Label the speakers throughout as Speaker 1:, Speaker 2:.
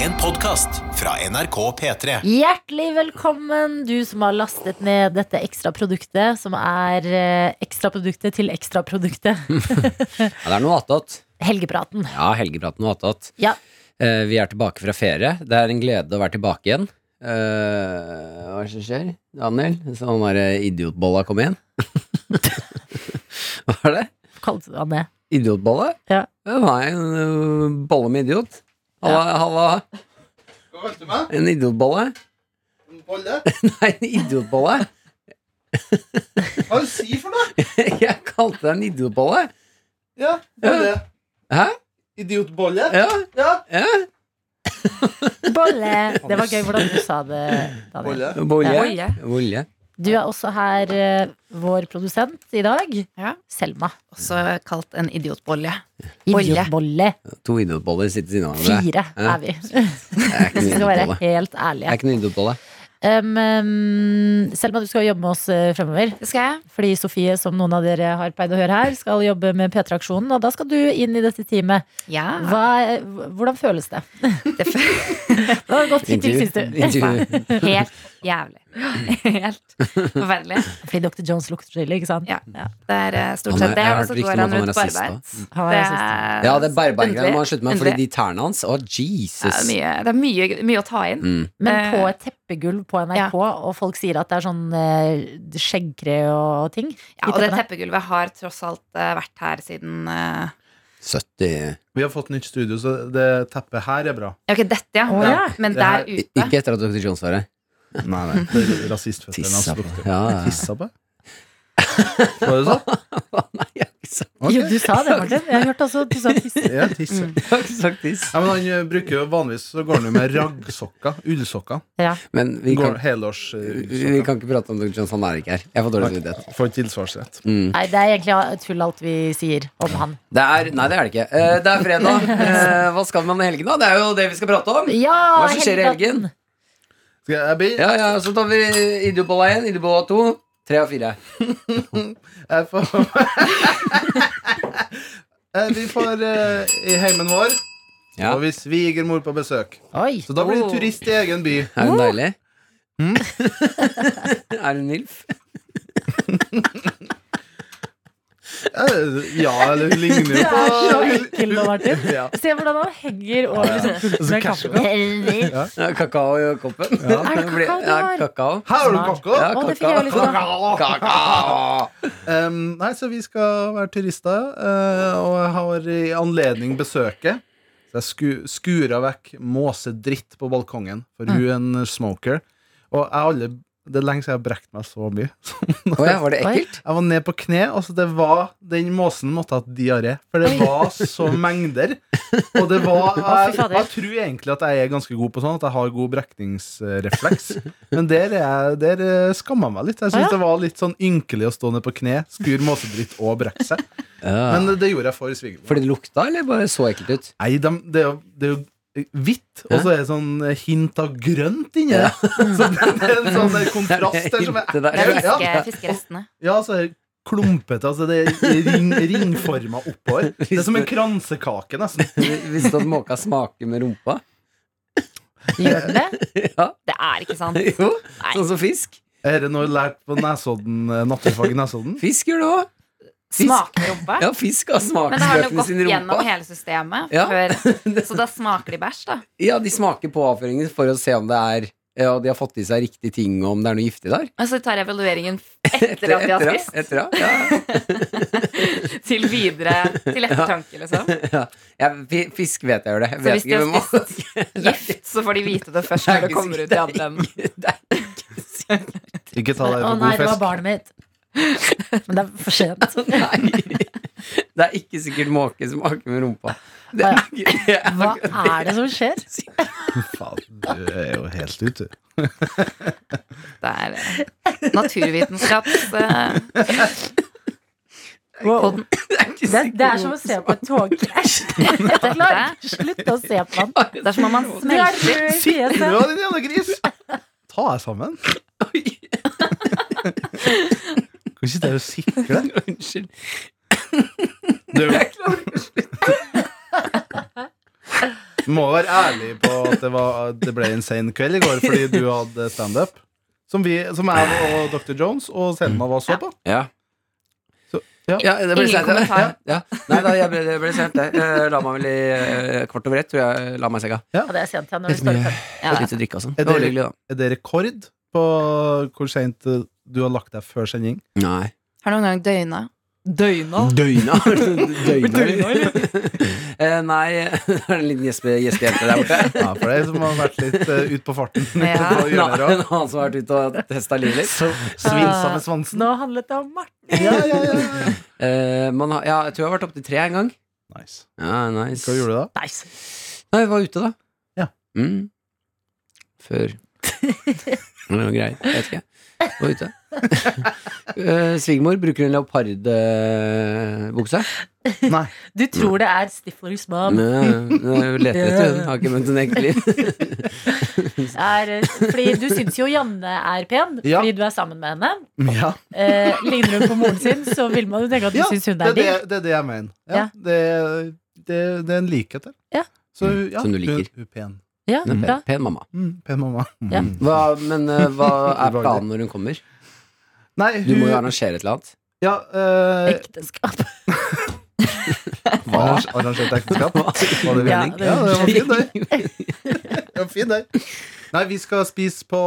Speaker 1: En podcast fra NRK P3.
Speaker 2: Hjertelig velkommen, du som har lastet ned dette ekstra produktet, som er eh, ekstra produktet til ekstra produktet.
Speaker 3: Ja, det er noe attåt.
Speaker 2: Helgepraten.
Speaker 3: Ja, helgepraten noe attåt.
Speaker 2: Ja.
Speaker 3: Eh, vi er tilbake fra ferie. Det er en glede å være tilbake igjen. Eh, hva er det som skjer? Daniel? Så han derre idiotbolla kom igjen? hva er det?
Speaker 2: Kalte du han det?
Speaker 3: Idiotbolle?
Speaker 2: Ja.
Speaker 3: Det var en øh, bolle med idiot. Halla, halla.
Speaker 4: Hva kalte du meg?
Speaker 3: En idiotbolle?
Speaker 4: En bolle?
Speaker 3: Nei, en idiotbolle.
Speaker 4: Hva er det du sier for noe?
Speaker 3: Jeg kalte deg en idiotbolle.
Speaker 4: Ja, bolle.
Speaker 3: Hæ?
Speaker 4: Idiotbolle?
Speaker 3: Ja,
Speaker 4: Ja.
Speaker 3: ja.
Speaker 2: Bolle. Det var gøy hvordan du sa det, Daniel.
Speaker 4: Bolle.
Speaker 3: Bolle.
Speaker 5: Bolle.
Speaker 3: Bolle.
Speaker 2: Du er også her eh, vår produsent i dag.
Speaker 5: Ja.
Speaker 2: Selma.
Speaker 5: Også kalt en idiotbolle. Bolle.
Speaker 2: Idiotbolle.
Speaker 3: To idiotboller sitter siden av hverandre.
Speaker 2: Fire
Speaker 3: Ja.
Speaker 2: er vi.
Speaker 3: Jeg er ikke
Speaker 2: Hvis
Speaker 3: en
Speaker 2: vi skal være
Speaker 3: idiotbolle.
Speaker 2: helt
Speaker 3: Jeg er
Speaker 2: ærlige.
Speaker 3: ikke noen idiotbolle.
Speaker 2: Um, um, Selma, du skal jobbe med oss eh, fremover.
Speaker 5: Det skal jeg.
Speaker 2: Fordi Sofie, som noen av dere har pleid å høre her, skal jobbe med P3-aksjonen. Og da skal du inn i dette teamet.
Speaker 5: Ja.
Speaker 2: Ah. Hva, hvordan føles det?
Speaker 5: Det føles
Speaker 2: Det var godt hittil, syns du.
Speaker 3: Intervju.
Speaker 5: helt jævlig. Helt forferdelig.
Speaker 2: Fordi Dr. Jones lukter chili, ikke sant?
Speaker 5: Ja. Det er eh, stort
Speaker 3: Han er-
Speaker 5: sett
Speaker 3: jeg
Speaker 5: det.
Speaker 3: har
Speaker 5: Og
Speaker 3: hørt
Speaker 5: så
Speaker 3: rykter om
Speaker 5: går han
Speaker 3: at han er
Speaker 5: rundt på
Speaker 3: rasist
Speaker 5: arbeid.
Speaker 2: Han er rasist.
Speaker 5: er-
Speaker 3: Ja, det barbergreiene må han slutte med, fordi
Speaker 5: underlig.
Speaker 3: de tærne hans Å,
Speaker 5: Ja, det
Speaker 3: Jesus.
Speaker 5: er, mye, det er mye, mye å ta inn.
Speaker 3: Mm.
Speaker 2: Men på
Speaker 5: Eh,
Speaker 2: et teppegulv på
Speaker 5: ja.
Speaker 2: NRK, og folk sier at det er sånn eh, skjeggkre og ting.
Speaker 5: Ja, og det
Speaker 2: teppene.
Speaker 5: teppegulvet har tross alt eh, vært her siden eh,
Speaker 3: 70
Speaker 4: Vi har fått nytt studio, så det teppet her er bra.
Speaker 5: ja, Ok, dette, ja.
Speaker 2: Å, ja.
Speaker 5: Men
Speaker 4: Det her-
Speaker 5: der
Speaker 3: I-
Speaker 5: ute.
Speaker 3: Ikke etter at Dr. Jones var her.
Speaker 4: Nei, nei. Det er rasistføttene hans
Speaker 3: Tissa på.
Speaker 4: lukter.
Speaker 3: Ja, ja.
Speaker 4: Tissa på? Var det sånn?
Speaker 3: Nei, jeg har ikke sagt-
Speaker 4: Ok.
Speaker 2: Jo, du sa det, Martin. Jeg har hørt også at du sa tiss.
Speaker 4: Ja, tisse.
Speaker 5: Mm.
Speaker 3: jeg har ikke sagt tiss.
Speaker 4: Ja, men han eh, bruker jo Vanligvis så går han jo med raggsokker. Ullsokker.
Speaker 2: Ja.
Speaker 3: Men vi
Speaker 4: Går eh,
Speaker 3: kan, vi
Speaker 4: Helårsullsokker.
Speaker 3: kan ikke prate om Dr. Jones, han er ikke her. Jeg får dårlig samvittighet.
Speaker 4: Får ikke tilsvarsrett.
Speaker 3: Mm.
Speaker 2: Nei, det er egentlig tull alt vi sier om han.
Speaker 3: Det er, nei, det er det ikke. Eh, det er fredag. Eh, hva skal man i helgen, da? Det er jo det vi skal prate om.
Speaker 2: Ja,
Speaker 3: Hva som skjer i helgen?
Speaker 2: helgepraten.
Speaker 4: Skal jeg begynne?
Speaker 3: Ja, ja, Så tar vi Idiobolla 1, Idiobolla 2, 3 og 4.
Speaker 4: Jeg får Eh, Vi får eh, i heimen vår
Speaker 3: Ja.
Speaker 4: Og vi svigermor på besøk.
Speaker 2: Oi.
Speaker 4: Så da blir det
Speaker 5: Oh.
Speaker 4: turist i egen by.
Speaker 3: Er hun deilig?
Speaker 4: Hmm?
Speaker 3: er hun MILF?
Speaker 4: Eh, Ja, eller hun ligner jo
Speaker 2: Du
Speaker 4: på
Speaker 2: er så ekkel nå, Martin.
Speaker 4: Ja.
Speaker 2: Se hvordan han henger over liksom, pulten med
Speaker 4: casual.
Speaker 2: kaffen.
Speaker 3: Ja, Kakao i koppen? Ja.
Speaker 2: Er det kakao du har?
Speaker 3: Ja, kakao.
Speaker 4: Her har du
Speaker 2: Smart.
Speaker 4: kakao!
Speaker 2: Å, det fikk jeg jo lyst til.
Speaker 3: Kakao!
Speaker 4: Em, nei, så vi skal være turister, eh, og jeg har i anledning besøket. Så jeg sku, skura vekk måsedritt på balkongen, for
Speaker 2: Mm.
Speaker 4: hun er en smoker. Og jeg har aldri, det er lenge siden jeg har brekt meg så mye.
Speaker 3: Å ja, var det ekkelt?
Speaker 4: Jeg var ned på kne, og så det var, den måsen måtte ha hatt diaré. For det var så mengder. Og det var
Speaker 2: Å, fy
Speaker 4: jeg,
Speaker 2: fader.
Speaker 4: jeg tror egentlig at jeg er ganske god på sånn, at jeg har god brekningsrefleks. Men der, er jeg, der eh, skammer jeg meg litt. Jeg
Speaker 2: Å, ja.
Speaker 4: syns det var litt sånn ynkelig å stå ned på kne, skure måsedritt og brekke seg. Men det gjorde jeg for svigermor.
Speaker 3: Fordi det lukta, eller bare så ekkelt ut?
Speaker 4: Nei, dem- det er jo, det er jo Hvitt, og så er det sånn hint av grønt inni det. Så det det er en sånn der kontrast der som
Speaker 3: Det
Speaker 4: er
Speaker 3: der.
Speaker 5: Det er
Speaker 4: Ja.
Speaker 5: fiske, fiskerestene.
Speaker 4: ja, så er det klumpete. Altså det er ring, ringforma oppover. Det er som en kransekake, nesten.
Speaker 3: Visste du at måka smaker med rumpa?
Speaker 2: Gjør den det?
Speaker 3: Ja,
Speaker 5: Det er ikke sant.
Speaker 3: jo.
Speaker 5: Nei.
Speaker 3: Sånn som fisk.
Speaker 4: Er det noe lært på Nesodden, eh, naturfag i Nesodden?
Speaker 3: Fisk gjør det òg. Fisk.
Speaker 5: Smaker rumpa.
Speaker 3: Ja, fisk har
Speaker 5: Men det har jo
Speaker 3: smaksbøkene
Speaker 5: gått
Speaker 3: sine i
Speaker 5: gjennom
Speaker 3: rumpa.
Speaker 5: hele systemet.
Speaker 3: Ja.
Speaker 5: Før, så da smaker de bæsj, da.
Speaker 3: Ja, de smaker på avføringen for å se om det er ja, de har fått i seg riktig ting, og om det er noe giftig der.
Speaker 5: Og så tar evalueringen etter at de har
Speaker 3: Etter,
Speaker 5: spist,
Speaker 3: etter, ja. ja.
Speaker 5: til videre til ettertanke, liksom.
Speaker 3: Ja, fi- Fisk vet jeg gjør det. Jeg
Speaker 5: Så
Speaker 3: vet
Speaker 5: hvis de
Speaker 3: ikke hvem
Speaker 5: har spist gift, så får de vite det først når det kommer ut i andre enden.
Speaker 3: andre enden.
Speaker 4: Ikke ta
Speaker 2: Å
Speaker 4: deg
Speaker 2: nei,
Speaker 4: for god
Speaker 2: det var
Speaker 4: fisk.
Speaker 2: barnet mitt. Men det er for sent.
Speaker 3: Nei. Det er ikke sikkert måke som aker med rumpa. Det er, det er,
Speaker 2: Hva er det som skjer?
Speaker 4: Faen, du er jo helt ute.
Speaker 5: Det er eh, naturvitenskaps... eh,
Speaker 2: Wow.
Speaker 5: podden.
Speaker 3: det er ikke
Speaker 2: Det,
Speaker 3: sikkert
Speaker 2: det er som å se på et togkrasj. Jeg klarer ikke å slutte å se på han.
Speaker 5: Det er som om man
Speaker 2: Du er
Speaker 5: smelter
Speaker 2: rød i
Speaker 4: Du
Speaker 2: fjeset.
Speaker 4: var din jævla gris! Ta deg sammen.
Speaker 3: Oi,
Speaker 4: Kan ikke dere sikle?
Speaker 3: Unnskyld.
Speaker 4: Du,
Speaker 3: Jeg klarer ikke å slutte.
Speaker 4: Må være ærlig på at det, var, det ble en sen kveld i går fordi du hadde standup. Som, vi- som jeg og Dr. Jones og Selma var og så på.
Speaker 3: Ja.
Speaker 4: Så- ja.
Speaker 3: det ble
Speaker 5: Ingen
Speaker 3: sent,
Speaker 5: kommentar.
Speaker 3: Ja. Ja. Nei da, jeg ble, det ble sent, det. Eh, La meg vel i eh, kvart over ett, tror jeg. La meg i senga.
Speaker 2: Ja, det er sent ja, når du står opp.
Speaker 3: Og litt å drikke og sånn.
Speaker 4: Er
Speaker 3: Det var veldig hyggelig,
Speaker 4: Er det rekord på hvor seint eh, du har lagt deg før sending?
Speaker 3: da. Nei.
Speaker 5: Har noen gang døgna? Døgna?
Speaker 3: Døgna.
Speaker 5: Døgna, eller?
Speaker 3: Eh, Nei, det er en liten gjespe- gjestejente der borte.
Speaker 4: Ja, for det er som har vært litt uh, ut på farten.
Speaker 5: Ja.
Speaker 4: På
Speaker 3: En
Speaker 4: hjørnet her
Speaker 3: annen
Speaker 4: også.
Speaker 3: en annen som har vært ute og testa livet litt.
Speaker 4: Så Svinsa med svansen.
Speaker 2: Ah. Nå handlet det om Martin.
Speaker 4: Ja, ja, ja, ja.
Speaker 3: Eh, man har, ja, jeg tror jeg har vært opptil tre en gang.
Speaker 4: Nice.
Speaker 3: Ja, nice.
Speaker 4: Hva gjorde du da?
Speaker 2: Nice.
Speaker 3: Nei, jeg var ute, da.
Speaker 4: Ja.
Speaker 3: Mm. Før Det var greier. Jeg vet ikke. Jeg var ute. Eh, Svigermor bruker en leopardbukse.
Speaker 4: Nei.
Speaker 2: Du tror det er Stiflers mom.
Speaker 3: Leter etter hun, har ikke møtt henne i ekte liv.
Speaker 2: Er, eh, fordi du syns jo Janne er pen,
Speaker 4: Ja.
Speaker 2: fordi du er sammen med henne.
Speaker 4: Ja.
Speaker 2: Eh, ligner hun på moren sin, så vil man jo tenke at du
Speaker 4: Ja,
Speaker 2: syns hun
Speaker 4: Det,
Speaker 2: er
Speaker 4: er det,
Speaker 2: digg.
Speaker 4: det er det jeg mener. Ja,
Speaker 2: Ja.
Speaker 4: Det, det, det er en likhet der.
Speaker 2: Ja.
Speaker 4: Så, ja,
Speaker 3: Som du liker.
Speaker 4: Hun, hun pen.
Speaker 2: Ja, bra.
Speaker 3: Pen mamma.
Speaker 4: Mm, pen mamma.
Speaker 2: Ja.
Speaker 4: Mm.
Speaker 3: Hva, men eh, hva er planen når hun kommer?
Speaker 4: Nei,
Speaker 3: Du må jo
Speaker 4: hun
Speaker 3: arrangere et eller annet.
Speaker 4: ja, eh,
Speaker 2: Ekteskap.
Speaker 4: Hva? Arrangert ekteskap? Var det
Speaker 2: Ja,
Speaker 4: mening?
Speaker 2: det-
Speaker 4: Ja, det var fin der. Det var fin der. Nei, vi skal spise på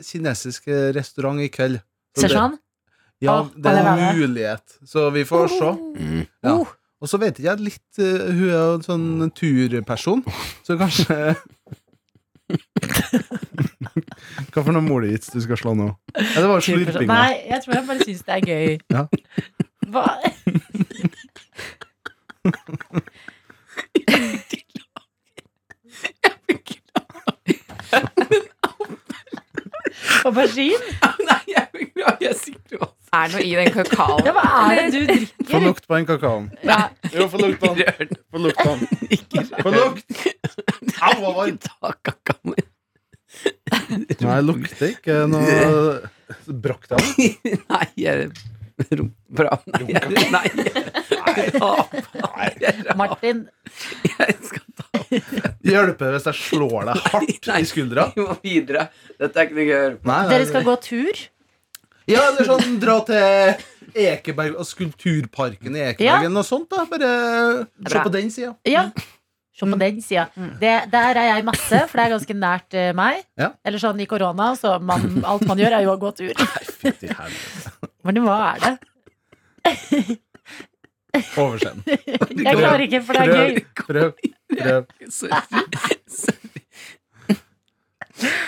Speaker 4: kinesisk restaurant i kveld. Så det-
Speaker 2: Sersan?
Speaker 4: Ja,
Speaker 2: Ah,
Speaker 4: det er
Speaker 2: allerede.
Speaker 4: en mulighet. Så vi får se.
Speaker 3: Mm.
Speaker 4: Ja.
Speaker 2: Oh,
Speaker 4: Og så vet jeg litt eh, Hun er jo en sånn
Speaker 3: Mm.
Speaker 4: turperson, så kanskje Hva for noen molevits du skal slå nå? Ja, det var jo
Speaker 2: turperson.
Speaker 4: slurpinga.
Speaker 2: Nei, jeg tror jeg bare syns det er gøy.
Speaker 4: Ja.
Speaker 2: Hva? Aubergine?
Speaker 3: Nei, jeg beklager. Jeg er sikker på
Speaker 5: Er det noe i den kakaoen?
Speaker 2: Ja, hva er det du
Speaker 4: Få
Speaker 2: drikker?
Speaker 4: lukt på den kakaoen.
Speaker 2: Ja.
Speaker 4: Jo, få lukt på den. Få lukt på den. Få lukt. Au, hva var det? Nei, jeg lukter ikke noe Brokk deg.
Speaker 3: Nei, jeg rom- Bra. Nei, jeg, nei, jeg, jeg,
Speaker 2: Martin,
Speaker 3: jeg skal
Speaker 4: Hjelper det hvis jeg slår deg hardt
Speaker 3: Nei.
Speaker 4: i skuldra?
Speaker 3: Vi må videre. Dette er ikke noe gøy å høre på.
Speaker 4: Nei, nei,
Speaker 2: dere skal gå tur?
Speaker 4: Ja, eller sånn dra til Ekeberg og Skulpturparken i Ekeberg
Speaker 2: Ja.
Speaker 4: eller noe sånt. da Bare se
Speaker 5: bra.
Speaker 4: på den sida.
Speaker 2: Ja. Se på den sida. Det, der er jeg masse, for det er ganske nært eh, meg.
Speaker 4: Ja.
Speaker 2: Eller sånn i korona, så man, alt man gjør, er jo å gå tur. Men hva er det?
Speaker 4: Oversend.
Speaker 2: Jeg klarer ikke, for det er gøy.
Speaker 4: Prøv. Prøv.
Speaker 3: Sorry. Sorry.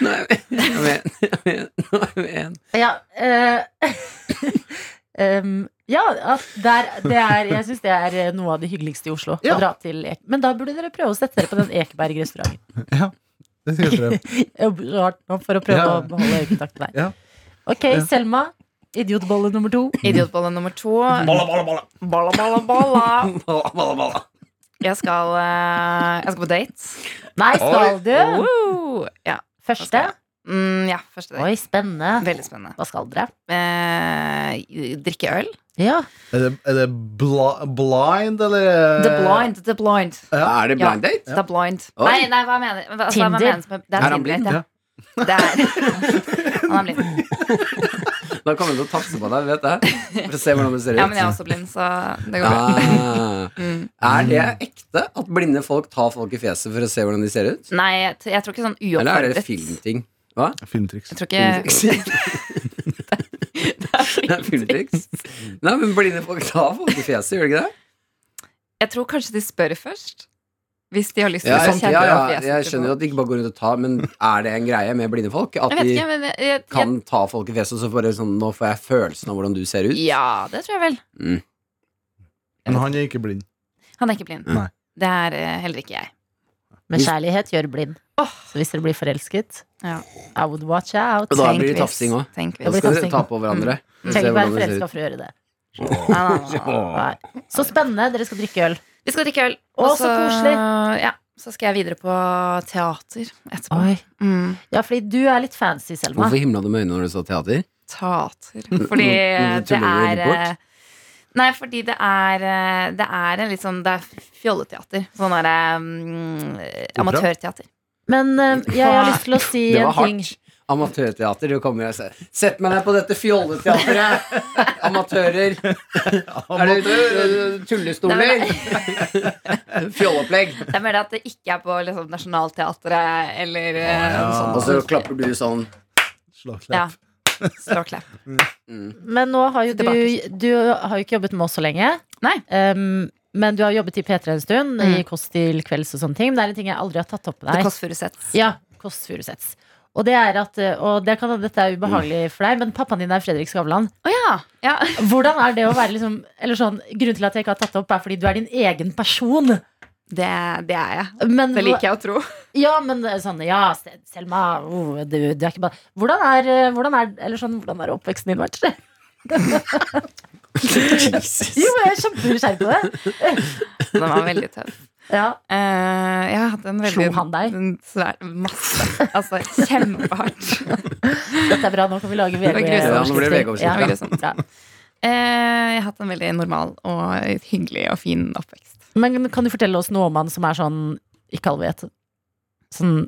Speaker 3: Nei, jeg mener jeg mener- jeg mener-
Speaker 2: Ja, eh, em, ja at der, det er, jeg syns det er eh, noe av det hyggeligste i Oslo.
Speaker 4: Ja.
Speaker 2: Å dra til Ek Men da burde dere prøve å sette dere på den Ekeberg-restauranten.
Speaker 4: Det skal jeg prøve.
Speaker 2: Rart nå, For å prøve
Speaker 4: Ja.
Speaker 2: å beholde øyekontakten der.
Speaker 4: Ja.
Speaker 2: Ok, Selma. Idiotbolle nummer to.
Speaker 5: Idiotbolle nummer to.
Speaker 4: Balla, balla, balla.
Speaker 5: Balla, balla, balla.
Speaker 3: Balla, balla, balla.
Speaker 5: Jeg skal, eh, jeg skal på date.
Speaker 2: Nei, skal du?
Speaker 5: Woo! Ja.
Speaker 2: Første?
Speaker 5: Mm, ja, første date.
Speaker 2: Oi, spennende.
Speaker 5: Veldig spennende.
Speaker 2: Hva skal dere?
Speaker 5: Eh, drikke øl.
Speaker 2: Ja.
Speaker 4: Er det, er det bla, blind, eller?
Speaker 5: The blind. The blind.
Speaker 3: Er det blind date?
Speaker 5: The blind.
Speaker 3: Oi.
Speaker 5: Nei, nei, hva mener hva- altså, hva
Speaker 2: Tinder.
Speaker 5: menes med- Det er
Speaker 3: Er han
Speaker 5: Tinder.
Speaker 3: blind?
Speaker 5: ja. Det er Han er blind.
Speaker 3: Da kommer hun til å tafse på deg, vet jeg. For å se hvordan hun ser ut.
Speaker 5: Ja, men jeg er også blind, så det går bra.
Speaker 3: Ah.
Speaker 5: Mm.
Speaker 3: Er det ekte at blinde folk tar folk i fjeset for å se hvordan de ser ut?
Speaker 5: Nei, jeg, t- jeg tror ikke sånn
Speaker 3: Eller er det
Speaker 5: uoppfordret.
Speaker 3: filmting? Hva?
Speaker 4: Filmtriks.
Speaker 5: Jeg tror ikke
Speaker 3: Det er filmtriks. Nei, men blinde folk tar folk i fjeset, gjør de ikke det?
Speaker 5: Jeg tror kanskje de spør først. Hvis de har lyst til
Speaker 3: Ja,
Speaker 5: å
Speaker 3: jeg,
Speaker 5: kjenne
Speaker 3: ja, ja,
Speaker 5: fjeset
Speaker 3: jeg
Speaker 5: til
Speaker 3: skjønner jo
Speaker 5: folk.
Speaker 3: at de ikke bare går rundt og tar, men er det en greie med blinde folk? At
Speaker 5: Jeg vet
Speaker 3: de
Speaker 5: ikke, men jeg, jeg, jeg,
Speaker 3: kan ta folk i fjeset, og så bare sånn Nå får jeg følelsen av hvordan du ser ut.
Speaker 5: Ja, det tror jeg vel.
Speaker 3: Mm.
Speaker 4: Men han er ikke blind.
Speaker 5: Han er ikke blind.
Speaker 4: Nei.
Speaker 5: Det er eh, heller ikke jeg.
Speaker 2: Men kjærlighet gjør blind. Så hvis dere blir forelsket,
Speaker 5: Ja.
Speaker 2: I would watch out.
Speaker 3: Og da
Speaker 5: Tenk
Speaker 3: blir det
Speaker 5: hvis-
Speaker 3: tafsing òg.
Speaker 5: tenk
Speaker 3: Da
Speaker 5: hvis.
Speaker 2: blir
Speaker 3: skal dere
Speaker 2: tafsing.
Speaker 3: ta på hverandre. og se
Speaker 2: Trenger ikke være
Speaker 3: hvordan du ser
Speaker 2: forelska
Speaker 3: ut.
Speaker 2: for å gjøre det.
Speaker 5: Nei, nei, nei, nei.
Speaker 2: Nei. Så spennende. Dere skal drikke øl.
Speaker 5: Vi skal drikke øl.
Speaker 2: Å, så koselig.
Speaker 5: Ja, så skal jeg videre på teater etterpå.
Speaker 2: Oi.
Speaker 5: Mm,
Speaker 2: Ja, fordi du er litt fancy, Selma.
Speaker 3: Hvorfor himla du med øynene når du så teater?
Speaker 5: teater. Fordi
Speaker 3: Mm, du
Speaker 5: det
Speaker 3: tuller
Speaker 5: er
Speaker 3: jo bort.
Speaker 5: eh, Nei, fordi det er, eh, det er en litt sånn Det er fjolleteater. Sånn derre mm,
Speaker 4: Opera?
Speaker 5: amatørteater.
Speaker 2: Men eh, jeg har lyst til å si
Speaker 3: Det
Speaker 2: en
Speaker 3: var
Speaker 2: ting.
Speaker 3: hardt. Amatørteater. Du kommer og sier 'Sett meg ned på dette fjolleteatret'. Amatører. Er det eh, tullestoler? Fjolleopplegg.
Speaker 5: Det er mer det at det ikke er på liksom, Nationaltheatret eller eh,
Speaker 4: ja. Altså,
Speaker 5: sånn.
Speaker 3: Og så klapper du sånn.
Speaker 5: Ja.
Speaker 4: Slagklapp.
Speaker 5: Stråklapp.
Speaker 2: Men nå har jo du
Speaker 5: Tilbake.
Speaker 2: Du har jo ikke jobbet med oss så lenge.
Speaker 5: Nei.
Speaker 2: Um, men du har jobbet i P3 en stund,
Speaker 5: Mm.
Speaker 2: i Kåss til kvelds og sånne ting. Men det er en ting jeg aldri har tatt opp med
Speaker 5: The
Speaker 2: deg.
Speaker 5: Kåss Furuseths.
Speaker 2: Ja, Kåss Furuseths. Og det er at, eh, og det kan, dette er ubehagelig for deg, men pappaen din er Fredrik Skavlan.
Speaker 5: Å ja. ja.
Speaker 2: Hvordan er det å være liksom eller sånn, Grunnen til at jeg ikke har tatt det opp, er fordi du er din egen person.
Speaker 5: Det, det er jeg.
Speaker 2: Men,
Speaker 5: Det liker jeg å tro.
Speaker 2: Ja, men sånn Ja, Se- Selma oh, du, du er ikke bare Hvordan er, eh, hvordan er, eller sånn, hvordan er oppveksten din vært? Jo, jeg er kjempenysgjerrig på det.
Speaker 5: Den var veldig tøff.
Speaker 2: Ja.
Speaker 5: Eh, jeg har hatt en veldig
Speaker 2: Slo han deg?
Speaker 5: en svær, masse. Altså kjempehardt.
Speaker 2: Dette er bra, nå kan vi lage VG.
Speaker 5: Det var grusomt.
Speaker 3: Ja, nå blir det VG-overskrift,
Speaker 2: Ja,
Speaker 5: ja.
Speaker 2: grusomt. Ja.
Speaker 5: Eh, jeg har hatt en veldig normal og hyggelig og fin oppvekst.
Speaker 2: Men kan du fortelle oss noe om han som er sånn ikke alle vet? Sånn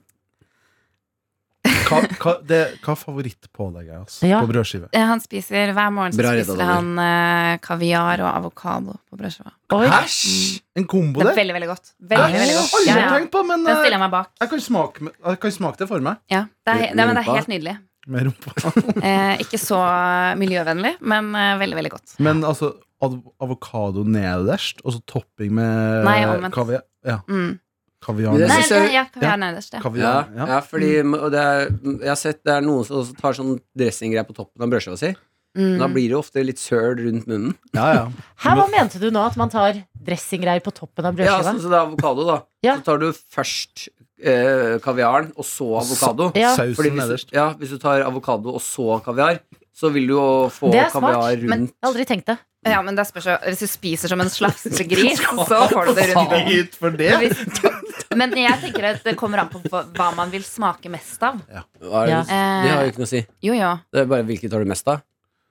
Speaker 4: Hva, hva, det, hva favorittpålegget er altså,
Speaker 2: Ja.
Speaker 4: på brødskive?
Speaker 5: Eh, han spiser Hver morgen så
Speaker 3: Bra redda,
Speaker 5: spiser han eh, kaviar og avokado på brødskiva.
Speaker 2: Oi!
Speaker 4: Hæsj! En kombo
Speaker 5: Mm. Det
Speaker 4: der?
Speaker 5: er veldig, veldig godt. Veldig, veldig godt.
Speaker 4: Jeg har
Speaker 5: Ja,
Speaker 4: aldri
Speaker 5: ja.
Speaker 4: tenkt på, men
Speaker 5: Den
Speaker 4: eh,
Speaker 5: stiller jeg meg bak.
Speaker 4: jeg kan, smake, med- jeg kan smake det for meg.
Speaker 5: Ja, det er, he-
Speaker 3: Med-
Speaker 5: nei,
Speaker 3: med
Speaker 5: men det er
Speaker 3: rumpa?
Speaker 5: helt nydelig.
Speaker 4: Med rumpa.
Speaker 5: Eh, ikke så miljøvennlig, men eh, veldig, veldig godt.
Speaker 4: Men altså, ad- avokado nederst, og så topping med
Speaker 5: Nei, omvendt.
Speaker 4: kaviar. Ja,
Speaker 5: Mm.
Speaker 4: kaviar.
Speaker 3: Det
Speaker 5: Nei,
Speaker 3: synes
Speaker 4: nederst.
Speaker 5: ja,
Speaker 3: jeg-
Speaker 5: ja, kaviar nederst, ja.
Speaker 4: kaviar.
Speaker 3: Ja,
Speaker 4: Ja.
Speaker 3: ja fordi
Speaker 2: Mm.
Speaker 3: og det er, Jeg har sett det er noen som også tar sånn dressinggreier på toppen av brødskiva si.
Speaker 5: Mm.
Speaker 3: Da blir det jo ofte litt søl rundt munnen.
Speaker 4: ja, ja.
Speaker 2: Her, hva mente du nå? At man tar dressinggreier på toppen av brødskiva?
Speaker 3: Ja, sånn som det er avokado, da.
Speaker 2: Ja.
Speaker 3: Så tar du først eh, kaviaren, og så avokado.
Speaker 2: Ja.
Speaker 3: Fordi
Speaker 4: Sausen
Speaker 3: hvis,
Speaker 4: nederst.
Speaker 3: ja, hvis du tar avokado og så kaviar, så vil du jo få
Speaker 2: Det er smart,
Speaker 3: kaviar rundt
Speaker 5: men-
Speaker 2: Jeg har aldri tenkt det.
Speaker 5: Ja, men det spørs jo Hvis du spiser som en slafsete gris, så får du det rundt.
Speaker 4: Hit for det.
Speaker 5: Hvis- Men jeg tenker at det kommer an på hva hva man vil smake mest av.
Speaker 3: Hva er det?
Speaker 2: Ja.
Speaker 3: Det har
Speaker 5: Eh,
Speaker 3: jo ikke noe å si.
Speaker 5: jo, jo.
Speaker 3: Det er bare hvilket tar du mest av.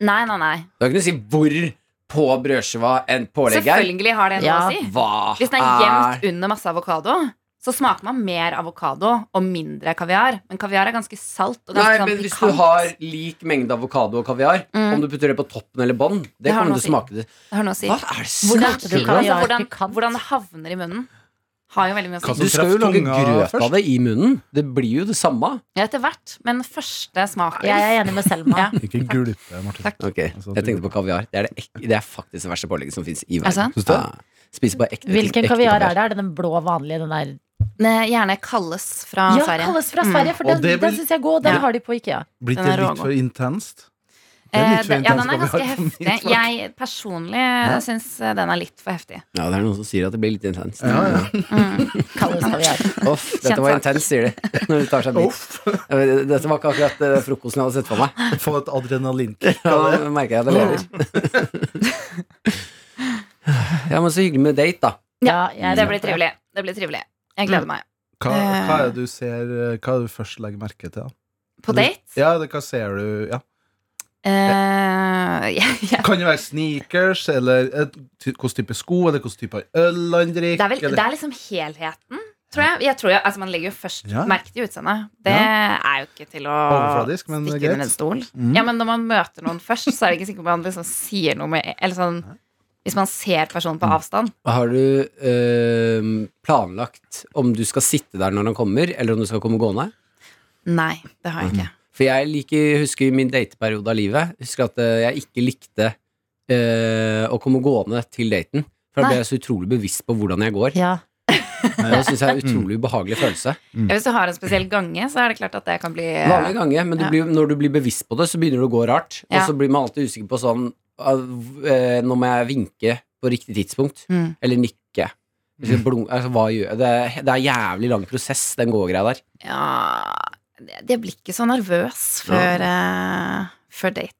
Speaker 5: Nei, nei, nei.
Speaker 3: Det har ikke noe å si hvor på brødskiva en pålegg er.
Speaker 5: Selvfølgelig har det noe
Speaker 2: Ja.
Speaker 5: å si.
Speaker 3: Hva
Speaker 5: Hvis den er jevnt under masse avokado, så smaker man mer avokado og mindre kaviar. Men kaviar er ganske salt. Og
Speaker 3: Nei,
Speaker 5: ganske sånn
Speaker 3: men hvis du
Speaker 5: pikant.
Speaker 3: har lik mengde avokado og kaviar,
Speaker 5: Mm.
Speaker 3: om du putter det på toppen eller bånn, det,
Speaker 5: Det har
Speaker 3: kommer
Speaker 5: noe
Speaker 3: til å
Speaker 5: å
Speaker 3: smake det.
Speaker 5: Det har noe å si.
Speaker 3: Hva er det
Speaker 2: Hvordan-
Speaker 3: snakker
Speaker 2: du
Speaker 3: du om?
Speaker 2: kan-
Speaker 5: Altså,
Speaker 2: Kaviar
Speaker 5: hvordan,
Speaker 2: pikant.
Speaker 5: hvordan det havner i munnen, har jo veldig mye å
Speaker 4: Hva
Speaker 5: si.
Speaker 4: som
Speaker 3: Du skal jo
Speaker 4: treffer
Speaker 3: lage
Speaker 4: Altså, tunga
Speaker 3: grøt
Speaker 4: først.
Speaker 3: av det i munnen. Det blir jo det samme.
Speaker 5: Ja, etter hvert. Men første smaken
Speaker 2: Jeg er enig med Selma.
Speaker 5: Ja.
Speaker 4: Ikke gulpe, Martin.
Speaker 5: Takk.
Speaker 3: Ok, Jeg tenkte på kaviar. Det er, det ek det er faktisk det verste pålegget som fins i
Speaker 5: Er det
Speaker 3: verden.
Speaker 5: sant?
Speaker 4: Syns du det?
Speaker 3: Ja. Spiser bare ekte
Speaker 2: Hvilken kaviar er det? Er det den blå vanlige? Den der?
Speaker 5: Nei, Gjerne kalles fra
Speaker 2: Ja,
Speaker 5: Sverige. Mm.
Speaker 2: kalles fra Sverige, for
Speaker 4: Og
Speaker 2: den,
Speaker 4: det
Speaker 2: den
Speaker 4: blir-
Speaker 2: syns jeg er god. og Den
Speaker 5: Ja.
Speaker 2: har de på IKEA.
Speaker 4: Blitt
Speaker 5: Den er
Speaker 4: det litt
Speaker 5: rågod.
Speaker 4: for intenst? Det
Speaker 5: Eh,
Speaker 4: er litt for
Speaker 5: den- ja, den er
Speaker 4: intenst
Speaker 5: ganske
Speaker 4: kaviar for min smak.
Speaker 5: heftig. Jeg personlig syns eh, den er litt for heftig.
Speaker 3: Ja, det er noen som sier at det blir litt intenst.
Speaker 4: Ja, ja.
Speaker 5: Mm.
Speaker 2: Kalles kaviar.
Speaker 3: Uff, dette var
Speaker 5: Kjempesak.
Speaker 3: intenst, sier de. Når de tar seg en bit. Jeg vet, Dette var ikke akkurat eh, frokosten jeg hadde sett for meg.
Speaker 4: Få et adrenalinkick
Speaker 3: Ja,
Speaker 4: av det.
Speaker 3: da merker jeg at jeg
Speaker 5: Mm.
Speaker 3: lever. Ja, men så hyggelig med date, da.
Speaker 2: Ja, jeg er
Speaker 5: Det
Speaker 2: enig
Speaker 5: blir
Speaker 2: på det.
Speaker 5: trivelig. Det blir trivelig. Jeg gleder meg.
Speaker 4: Hva,
Speaker 5: Eh.
Speaker 4: hva er det du ser eh, Hva er det du først legger merke til? da?
Speaker 5: På date?
Speaker 4: Ja, det, hva ser du? Mm. Ja.
Speaker 5: Eh, jeg, jeg
Speaker 4: Kan det være sneakers, eller et, ty- hvilken type sko, eller hvilken type øl han drikker?
Speaker 5: Det er, vel,
Speaker 4: eller-
Speaker 5: det er liksom helheten, tror jeg. jeg, tror jo- altså man legger jo først
Speaker 4: Ja.
Speaker 5: merke til utseendet. Det er jo ikke til å
Speaker 4: Overfladisk, men
Speaker 5: stikke
Speaker 4: greit.
Speaker 5: under en stol.
Speaker 4: Mm.
Speaker 5: Ja, Men når man møter noen først, så er det ikke sikkert man liksom sier noe med Eller sånn Hvis man ser personen på avstand.
Speaker 3: Har du eh, planlagt om du skal sitte der når han kommer, eller om du skal komme gående?
Speaker 5: Nei, det har
Speaker 4: Mm.
Speaker 5: jeg ikke.
Speaker 3: For jeg liker, husker min dateperiode av livet. Husker at eh, jeg ikke likte eh, å komme gående til daten. For da
Speaker 5: Nei.
Speaker 3: ble jeg så utrolig bevisst på hvordan jeg går.
Speaker 2: Ja.
Speaker 3: Og Det syns jeg er en utrolig ubehagelig følelse.
Speaker 4: Mm.
Speaker 5: Ja, Hvis du har en spesiell gange, så er det klart at det kan bli eh,
Speaker 3: Vanlige ganger, men du
Speaker 5: Ja.
Speaker 3: blir, når du blir bevisst på det, så begynner det å gå rart.
Speaker 5: Ja.
Speaker 3: Og så blir man alltid usikker på sånn ah, v- eh, Nå må jeg vinke på riktig tidspunkt.
Speaker 5: Mm.
Speaker 3: Eller nikke. Hvis jeg blunk- altså, hva gjør jeg? Det, er- det er jævlig lang prosess, den gågreia der.
Speaker 5: Ja det- Jeg blir ikke så nervøs før, eh, før date.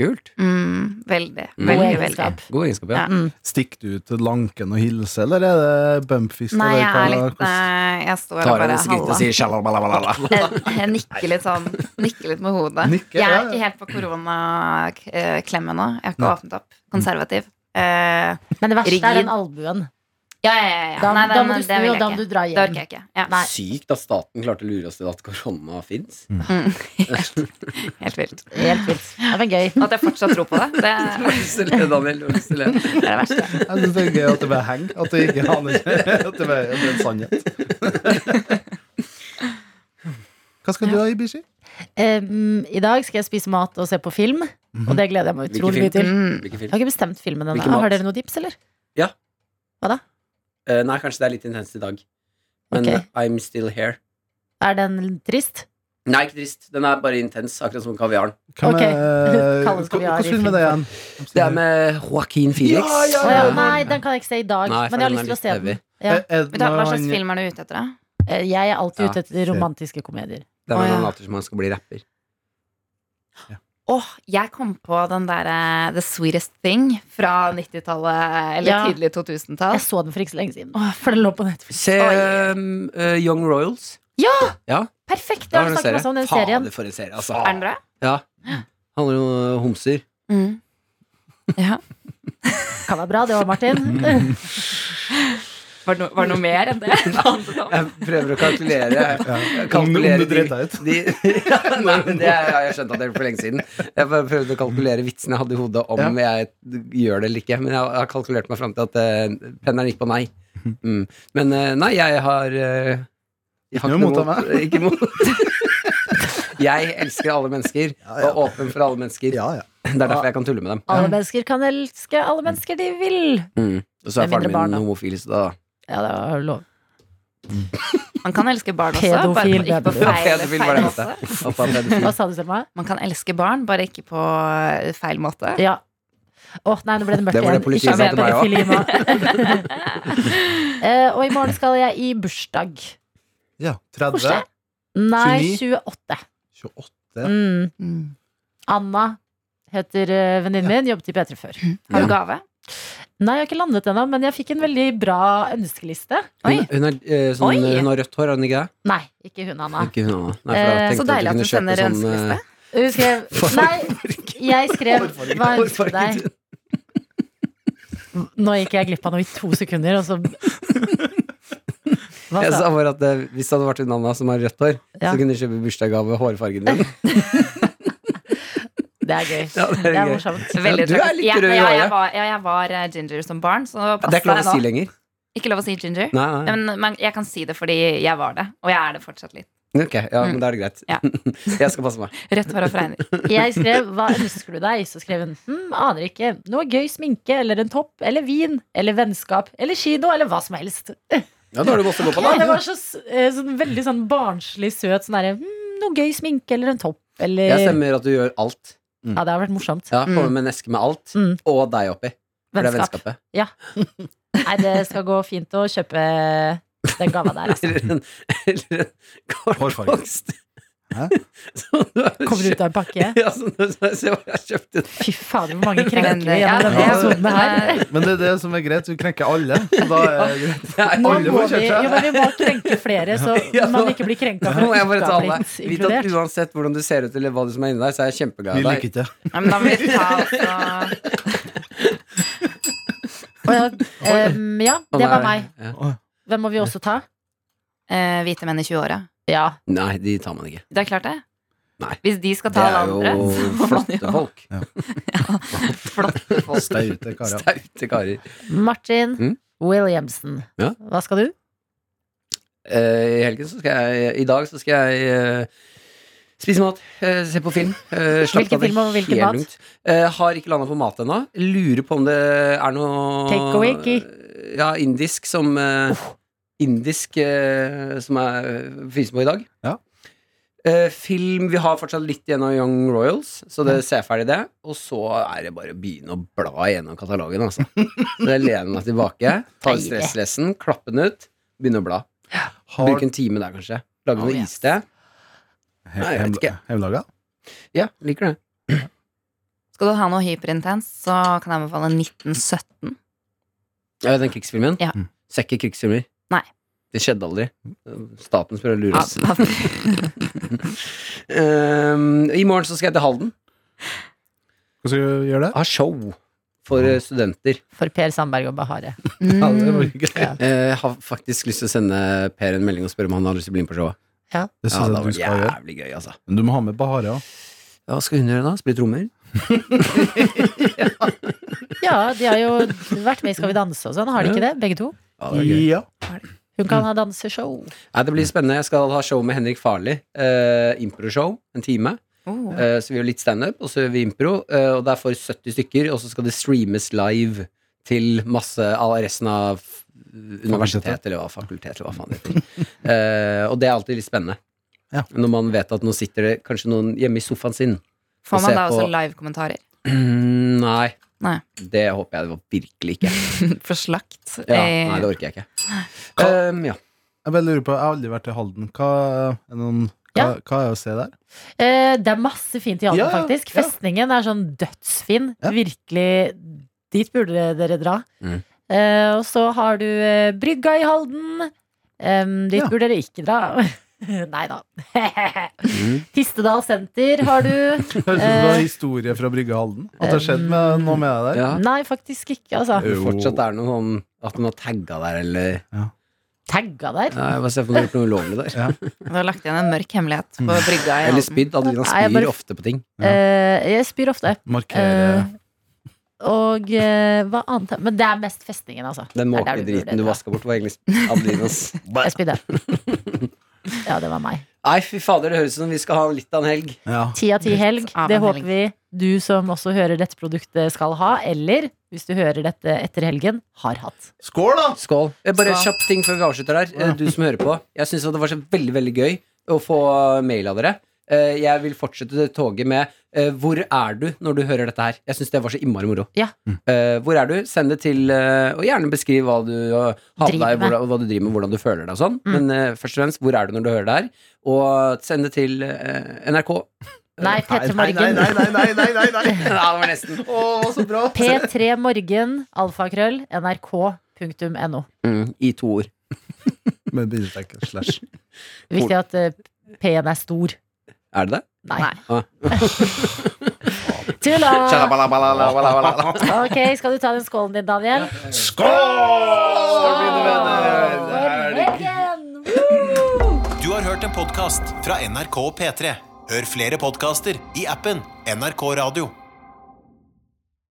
Speaker 3: Kult.
Speaker 5: Mm, veldig,
Speaker 2: God
Speaker 3: Mm.
Speaker 5: veldig, veldig.
Speaker 2: egenskap.
Speaker 3: God egenskap, ja.
Speaker 5: Ja.
Speaker 4: Stikker du ut til Lanken og hilser, eller er det bumpfisk?
Speaker 5: Nei,
Speaker 4: eller
Speaker 5: jeg er
Speaker 4: hva-
Speaker 5: litt eh, Nei, jeg står og
Speaker 3: Tar
Speaker 5: bare
Speaker 3: henne skritt og
Speaker 5: halla.
Speaker 3: sier sjalalalalala.
Speaker 5: Jeg, jeg nikker litt sånn Nikker litt med hodet.
Speaker 4: Nikker,
Speaker 5: jeg
Speaker 4: ja,
Speaker 5: er
Speaker 4: ja.
Speaker 5: ikke helt på koronaklemmen nå. Jeg har ikke
Speaker 4: Nei.
Speaker 5: åpnet opp. Konservativ. eh,
Speaker 2: Men det verste
Speaker 5: Rigid.
Speaker 2: er den albuen.
Speaker 5: ja, ja, ja, ja.
Speaker 2: Da,
Speaker 5: Nei,
Speaker 2: da
Speaker 5: den-
Speaker 2: må du
Speaker 5: det
Speaker 2: snu,
Speaker 5: vil
Speaker 2: og
Speaker 5: jeg
Speaker 2: da må
Speaker 5: ikke.
Speaker 2: du dra
Speaker 5: Det orker
Speaker 2: hjem.
Speaker 5: jeg ikke. Ja.
Speaker 2: Nei.
Speaker 3: Sykt at staten klarte å lure oss til at korona fins.
Speaker 5: Helt vilt.
Speaker 2: Helt vilt. Det var gøy.
Speaker 5: At jeg fortsatt tror på det, det er det,
Speaker 3: Daniel, du har lyst til å le.
Speaker 5: er det verste.
Speaker 4: Jeg synes det er gøy at det bare henger. At det ikke aner At det bare at det er en sannhet. Hva skal du ha i Bishi?
Speaker 2: Um, I dag skal jeg spise mat og se på film, og det gleder jeg meg utrolig mye
Speaker 3: Hvilken
Speaker 2: til.
Speaker 5: Mm.
Speaker 3: Hvilken
Speaker 2: Jeg
Speaker 3: film?
Speaker 2: har ikke bestemt filmen ennå. Ah,
Speaker 3: Hvilken mat?
Speaker 2: Har dere noen tips, eller?
Speaker 3: Eh, nei, kanskje det er litt intenst i dag. Men
Speaker 2: Ok.
Speaker 3: I'm Still Here.
Speaker 2: Er den trist?
Speaker 3: Nei, ikke trist. Den er bare intens, akkurat som kaviaren.
Speaker 4: Hvem
Speaker 2: Ok.
Speaker 4: er-
Speaker 2: Kalles
Speaker 4: Hva-
Speaker 2: kaviar i
Speaker 4: Hvordan film er det igjen?
Speaker 3: Det er med Joaquin Phoenix.
Speaker 4: Ja, ja,
Speaker 2: Å
Speaker 4: ja.
Speaker 2: ja, nei, den kan jeg ikke se i dag.
Speaker 3: Nei, for
Speaker 2: men jeg har
Speaker 3: den
Speaker 2: lyst til å
Speaker 3: er
Speaker 2: se
Speaker 3: litt
Speaker 2: den.
Speaker 3: heavy.
Speaker 2: Ja.
Speaker 4: Er- er det
Speaker 5: Vet du, hva
Speaker 4: noe
Speaker 5: slags
Speaker 4: han-
Speaker 5: film er du ute etter? da?
Speaker 2: Eh, Jeg er alltid
Speaker 3: Ja,
Speaker 2: ute etter
Speaker 4: shit.
Speaker 2: romantiske komedier.
Speaker 3: Det er
Speaker 5: Å,
Speaker 3: når han
Speaker 5: ja.
Speaker 3: later som han skal bli rapper.
Speaker 5: Åh, jeg kom på den derre The Sweetest Thing fra 90-tallet eller
Speaker 2: Ja.
Speaker 5: tidlig 2000-tall.
Speaker 2: Jeg så den for ikke så lenge siden. Åh, For den lå på Netflix.
Speaker 3: Se um, eh, Young Royals.
Speaker 2: Perfekt! Jeg
Speaker 3: Da
Speaker 2: har
Speaker 3: har du en
Speaker 2: snakket
Speaker 3: serie.
Speaker 2: masse om den serien.
Speaker 3: Fader, for en serie, altså.
Speaker 5: Er den bra?
Speaker 3: Ja. Handler om eh, homser.
Speaker 5: Mm. Ja.
Speaker 2: Kan være bra, det var Martin.
Speaker 5: Var det, no, var det noe mer enn det? det handlet om?
Speaker 3: Jeg prøver å kalkulere.
Speaker 4: Ja. Om du- om
Speaker 3: kalkulere
Speaker 4: du dreit deg ut.
Speaker 3: De, ja, nei, men det har jeg skjønt at det er for lenge siden. Jeg bare prøvde å kalkulere vitsen jeg hadde i hodet om jeg gjør det eller ikke. Men jeg har kalkulert meg fram til at uh, penneren gikk på nei. Mm. Men eh, nei, jeg har eh, jeg har
Speaker 4: Ikke noe imot av
Speaker 3: Ikke imot. Jeg elsker alle mennesker og er åpen for alle mennesker.
Speaker 4: Ja, ja.
Speaker 3: Det er derfor jeg kan tulle med dem.
Speaker 2: Alle mennesker kan elske alle mennesker de vil.
Speaker 3: Mm. Og så er
Speaker 2: Med mindre
Speaker 3: faren
Speaker 2: barn, da.
Speaker 3: min homofil, så da
Speaker 2: Ja, det var lov.
Speaker 5: Man kan elske barn også,
Speaker 2: Pedofil,
Speaker 5: bare på, ikke på
Speaker 2: det er
Speaker 3: bra.
Speaker 5: feil,
Speaker 3: Pedofil var
Speaker 5: feil
Speaker 3: det
Speaker 5: måte.
Speaker 3: Pappa er pedofil.
Speaker 2: Hva sa du, Selma?
Speaker 5: Man kan elske barn, bare ikke på eh, feil måte.
Speaker 2: Ja. Åh, nei, nå ble det mørkt
Speaker 3: Det var det
Speaker 2: igjen.
Speaker 3: politiet
Speaker 2: Ikke
Speaker 3: sa til
Speaker 2: mer
Speaker 3: meg
Speaker 2: pedofili nå. Eh, Og i morgen skal jeg i bursdag.
Speaker 4: ja.
Speaker 2: Koselig.
Speaker 4: 30?
Speaker 2: Nei, 28.
Speaker 4: 28?
Speaker 2: Mm.
Speaker 5: Mm.
Speaker 2: Anna heter eh, venninnen min. Jobbet i P3 før.
Speaker 5: Har du gave?
Speaker 2: Nei, jeg har ikke landet ennå, men jeg fikk en veldig bra ønskeliste.
Speaker 5: Oi.
Speaker 3: Hun, hun, er, eh, sånn,
Speaker 5: Oi. Ah.
Speaker 3: hun har rødt hår, har hun ikke det?
Speaker 2: Nei, ikke hun, Anna.
Speaker 3: Ikke hun, Anna. Nei, for
Speaker 2: Eh,
Speaker 3: jeg tenkte
Speaker 5: Så deilig at
Speaker 3: kunne
Speaker 5: du sender
Speaker 3: kjøpe sånn, eh,
Speaker 5: ønskeliste.
Speaker 2: Hun skrev Nei, jeg skrev Hva ønsker du deg? Nå gikk jeg glipp av noe i to sekunder, og så Hva
Speaker 3: Jeg
Speaker 2: sa
Speaker 3: sa bare at eh, Hvis det hadde vært en Anna som har rødt hår,
Speaker 2: Altså. Ja.
Speaker 3: så kunne du kjøpe bursdagsgave hårfargen din.
Speaker 2: Det er gøy.
Speaker 3: Ja, det er
Speaker 2: Det er
Speaker 3: gøy.
Speaker 2: morsomt.
Speaker 5: Veldig
Speaker 3: du er
Speaker 5: tragisk.
Speaker 3: litt
Speaker 5: Ja,
Speaker 3: rød i
Speaker 5: ja, jeg
Speaker 3: håret.
Speaker 5: var- Ja, jeg var eh, ginger som barn, så pass
Speaker 3: Det er ikke lov å
Speaker 5: deg
Speaker 3: si
Speaker 5: nå.
Speaker 3: lenger.
Speaker 5: Ikke lov å si ginger.
Speaker 3: Nei,
Speaker 5: Ja,
Speaker 3: nei.
Speaker 5: men, men jeg kan si det fordi jeg var det, og jeg er det fortsatt litt.
Speaker 3: Ok, ja, men da er det greit.
Speaker 5: Ja.
Speaker 3: Jeg skal passe meg.
Speaker 5: Rødt hår og fregner.
Speaker 2: Jeg skrev 'Hva ønsker du deg?' Så skrev hun hm, 'Aner ikke'. Noe gøy sminke eller en topp eller vin eller vennskap eller kino eller hva som helst.
Speaker 3: Ja, da har du masse å gå på,
Speaker 2: Ja, det
Speaker 3: da.
Speaker 2: var så, s- eh, sånn, veldig sånn barnslig søt sånn derre hm, 'Noe gøy sminke eller en topp eller
Speaker 3: Jeg stemmer at du gjør alt.
Speaker 2: Ja, det har vært morsomt.
Speaker 3: Ja, Kommer med en eske med alt,
Speaker 2: Mm.
Speaker 3: og deg oppi. For det er
Speaker 2: Vennskap.
Speaker 3: vennskapet.
Speaker 2: Nei, det skal gå fint å kjøpe den gava der, altså.
Speaker 3: Eller en, eller en kortvokst.
Speaker 4: Hæ?
Speaker 3: Som du har
Speaker 2: Kommer ut
Speaker 3: kjøpt.
Speaker 2: av en pakke.
Speaker 3: Ja, som du se hva jeg har kjøpt i dag.
Speaker 2: Fy fader, hvor mange
Speaker 5: Men,
Speaker 2: krenker vi
Speaker 5: eh, ja,
Speaker 2: gjennom denne
Speaker 5: det-
Speaker 2: episoden her.
Speaker 4: Men det er det som er greit. Du krenker alle. Så da er det greit.
Speaker 3: Det er
Speaker 2: Nå
Speaker 4: Alle
Speaker 2: må
Speaker 4: får
Speaker 2: vi,
Speaker 4: kjøpt seg.
Speaker 2: jo, men vi må krenke flere, så
Speaker 3: Ja, nå-
Speaker 2: man ikke blir krenka
Speaker 3: Nå
Speaker 2: for
Speaker 3: må jeg
Speaker 2: at
Speaker 3: bare
Speaker 2: ikke
Speaker 3: ta
Speaker 2: har
Speaker 3: alle.
Speaker 2: blitt
Speaker 3: Vit at
Speaker 2: inkludert.
Speaker 3: uansett hvordan du ser ut, eller hva som er inni deg, så er jeg kjempeglad
Speaker 4: Vi
Speaker 3: i deg.
Speaker 4: liker det.
Speaker 5: Ja, men da må vi ta altså
Speaker 2: Å, ja, em, eh, ja,
Speaker 3: Og
Speaker 2: det
Speaker 3: nå er
Speaker 2: var meg.
Speaker 3: Ja.
Speaker 2: Hvem må vi også ta?
Speaker 5: eh, hvite menn i 20-åra.
Speaker 2: Ja.
Speaker 3: Nei, de tar man ikke.
Speaker 5: Det er klart, det.
Speaker 3: Nei.
Speaker 5: Hvis de skal
Speaker 3: Det
Speaker 5: ta alle
Speaker 3: er
Speaker 5: andre,
Speaker 3: jo
Speaker 5: så må man
Speaker 3: flotte
Speaker 5: jo
Speaker 3: folk.
Speaker 5: flotte folk.
Speaker 4: Staute karer.
Speaker 3: Staute karer.
Speaker 2: Martin
Speaker 3: Mm.
Speaker 2: Williamson.
Speaker 3: Ja.
Speaker 2: Hva skal du?
Speaker 3: Eh, I helgen så skal jeg I dag så skal jeg eh, spise mat, eh, se på film. eh, slappe
Speaker 2: Hvilken
Speaker 3: av, det
Speaker 2: film og
Speaker 3: er
Speaker 2: hvilken
Speaker 3: helt
Speaker 2: mat?
Speaker 3: lugnt. Eh, har ikke landa på mat ennå. Lurer på om det er noe
Speaker 2: Takeaway-ki.
Speaker 3: Ja, indisk som eh,
Speaker 2: Oh.
Speaker 3: Indisk eh, som er finnes på i dag.
Speaker 4: Ja.
Speaker 3: Eh, film Vi har fortsatt litt igjen av Young Royals, så det ser jeg ferdig det. Og så er det bare å begynne å bla gjennom katalogen, altså. Så jeg lener meg tilbake, tar
Speaker 2: Deilig.
Speaker 3: stresslessen, klapper den ut, begynner å bla.
Speaker 4: Har
Speaker 3: Bruke en time der, kanskje.
Speaker 5: Oh,
Speaker 3: Lage noe iste. Nei, jeg vet ikke.
Speaker 4: Hjemmelaga?
Speaker 3: Ja, liker det.
Speaker 5: Skal du ha noe hyperintens, så kan jeg anbefale 1917.
Speaker 3: Ja, den krigsfilmen.
Speaker 5: Ja.
Speaker 4: Mm.
Speaker 3: Ser ikke krigsfilmer.
Speaker 5: Nei. Ah.
Speaker 3: Det skjedde aldri. Staten prøver å lure oss.
Speaker 5: Av- av-
Speaker 3: Ehm, I morgen så skal jeg til Halden.
Speaker 4: Hva skal du gjøre det?
Speaker 3: Ha show.
Speaker 6: for eh, studenter.
Speaker 2: for Per Sandberg og Bahare.
Speaker 4: Ja,
Speaker 3: Mm.
Speaker 5: Mm.
Speaker 4: det var gøy.
Speaker 2: Ja.
Speaker 3: Jeg Eh, har faktisk lyst til å sende Per en melding og spørre om han har lyst til å bli med på showet.
Speaker 4: Det
Speaker 3: Ja,
Speaker 4: syns
Speaker 3: det
Speaker 4: jeg du
Speaker 3: var
Speaker 4: skal gjøre.
Speaker 3: jævlig gøy, altså.
Speaker 4: Men du må ha med Bahare òg.
Speaker 3: Ja, hva skal hun gjøre da? Spille trommer?
Speaker 2: ja, de har jo vært med i Skal vi danse og sånn, har de ikke det? Begge to?
Speaker 3: Ja, det, var gøy.
Speaker 4: Ja.
Speaker 2: Hun kan ha danseshow.
Speaker 3: Nei, det blir spennende. Jeg skal ha show med Henrik Farli. Uh, Impro-show. En time.
Speaker 5: Oh.
Speaker 3: Eh, så vi gjør litt standup, og så gjør vi impro. eh, og det er for 70 stykker, og så skal det streames live til masse all resten av universitet, eller hva fakultet, eller hva faen det heter. Eh, og det er alltid litt spennende.
Speaker 4: Ja.
Speaker 3: Når man vet at nå sitter det kanskje noen hjemme i sofaen sin.
Speaker 5: Får
Speaker 3: se
Speaker 5: man da også
Speaker 3: på-
Speaker 5: live-kommentarer?
Speaker 3: Nei.
Speaker 5: Nei.
Speaker 3: Det håper jeg det var virkelig ikke.
Speaker 5: For slakt?
Speaker 3: Ja,
Speaker 5: Eh,
Speaker 3: nei, det orker jeg ikke.
Speaker 4: Hva-
Speaker 3: Eh, ja.
Speaker 4: Jeg bare lurer på, jeg har aldri vært i Halden. Hva er, noen, hva,
Speaker 2: Ja.
Speaker 4: hva er å se der?
Speaker 2: Eh, det er masse fint i Halden,
Speaker 4: Ja, ja,
Speaker 2: faktisk.
Speaker 4: ja.
Speaker 2: Festningen er sånn dødsfin.
Speaker 4: Ja.
Speaker 2: Virkelig. Dit burde dere- dere dra.
Speaker 3: Mm.
Speaker 2: Eh, og så har du eh, Brygga i Halden. Em, dit
Speaker 4: Ja.
Speaker 2: burde dere ikke dra. Nei da. Tistedal senter har du.
Speaker 4: Høres ut som
Speaker 2: Eh,
Speaker 4: det er historie fra Brygge Halden. At det har skjedd med, noe med deg der.
Speaker 3: ja.
Speaker 2: Nei, faktisk ikke, altså.
Speaker 3: Om det Fortsatt er noe sånn at man har tagga der, eller
Speaker 2: Tagga der.
Speaker 3: Nei, jeg bare ser for meg at det er noe ulovlig der.
Speaker 5: Du har lagt igjen en mørk hemmelighet på brygga. i
Speaker 3: Eller
Speaker 5: Halden.
Speaker 3: spydd. Adelina
Speaker 2: Nei, jeg
Speaker 3: spyr
Speaker 2: bare-
Speaker 3: ofte på ting.
Speaker 4: Ja.
Speaker 2: Eh, jeg spyr ofte.
Speaker 4: Markere
Speaker 2: Eh, og eh, hva annet Men det er mest festningen, altså.
Speaker 3: Den
Speaker 2: Det er der
Speaker 3: måkede
Speaker 2: du burde
Speaker 3: driten du
Speaker 2: dra.
Speaker 3: vaska bort, var egentlig Adelinas.
Speaker 2: Jeg spydde. Ja, det var meg.
Speaker 3: Nei, fy fader, det høres ut som vi skal ha litt av en helg.
Speaker 4: ja.
Speaker 2: Ti av ti helg.
Speaker 5: av en
Speaker 2: Det
Speaker 5: helg.
Speaker 2: håper vi du som også hører dette produktet, skal ha. Eller hvis du hører dette etter helgen, har hatt.
Speaker 4: Skål, da!
Speaker 3: Skål. Eh, Bare
Speaker 5: Skål.
Speaker 3: kjapp ting før vi avslutter her. Eh, Du som hører på. Jeg syns det var så veldig, veldig gøy å få mail av dere. Eh, Jeg vil fortsette det toget med eh, 'Hvor er du?' når du hører dette her. Jeg syns det var så innmari moro.
Speaker 2: Ja.
Speaker 3: Eh, Hvor er du? Send det til eh, Og gjerne beskriv hva du eh, har på
Speaker 2: Driver
Speaker 3: deg,
Speaker 2: med.
Speaker 3: hvordan, hva du driver med, hvordan du føler deg og sånn.
Speaker 2: Mm.
Speaker 3: Men eh, først og fremst, hvor er du når du hører det her? Og send det til eh, NRK.
Speaker 2: Nei, P3
Speaker 4: Nei,
Speaker 2: Morgen.
Speaker 4: nei, nei, nei, nei, nei, nei.
Speaker 3: Ja, det var nesten.
Speaker 4: Å, så bra!
Speaker 2: P3 Morgen, alfakrøll, nrk.no.
Speaker 3: Mm, I to ord.
Speaker 4: Med bildetekk slash.
Speaker 2: Viktig at eh, P-en er stor.
Speaker 3: Er det det?
Speaker 2: Nei.
Speaker 3: Ah.
Speaker 2: Tulla!
Speaker 3: Shalabalabalalabalabala.
Speaker 2: Ok, skal du ta den skålen din, Daniel?
Speaker 4: Skål!
Speaker 2: mine
Speaker 4: venner! Det er det
Speaker 2: venner! Helgen!
Speaker 1: Du har hørt en podcast fra NRK P3. Hør flere podcaster i appen NRK Radio.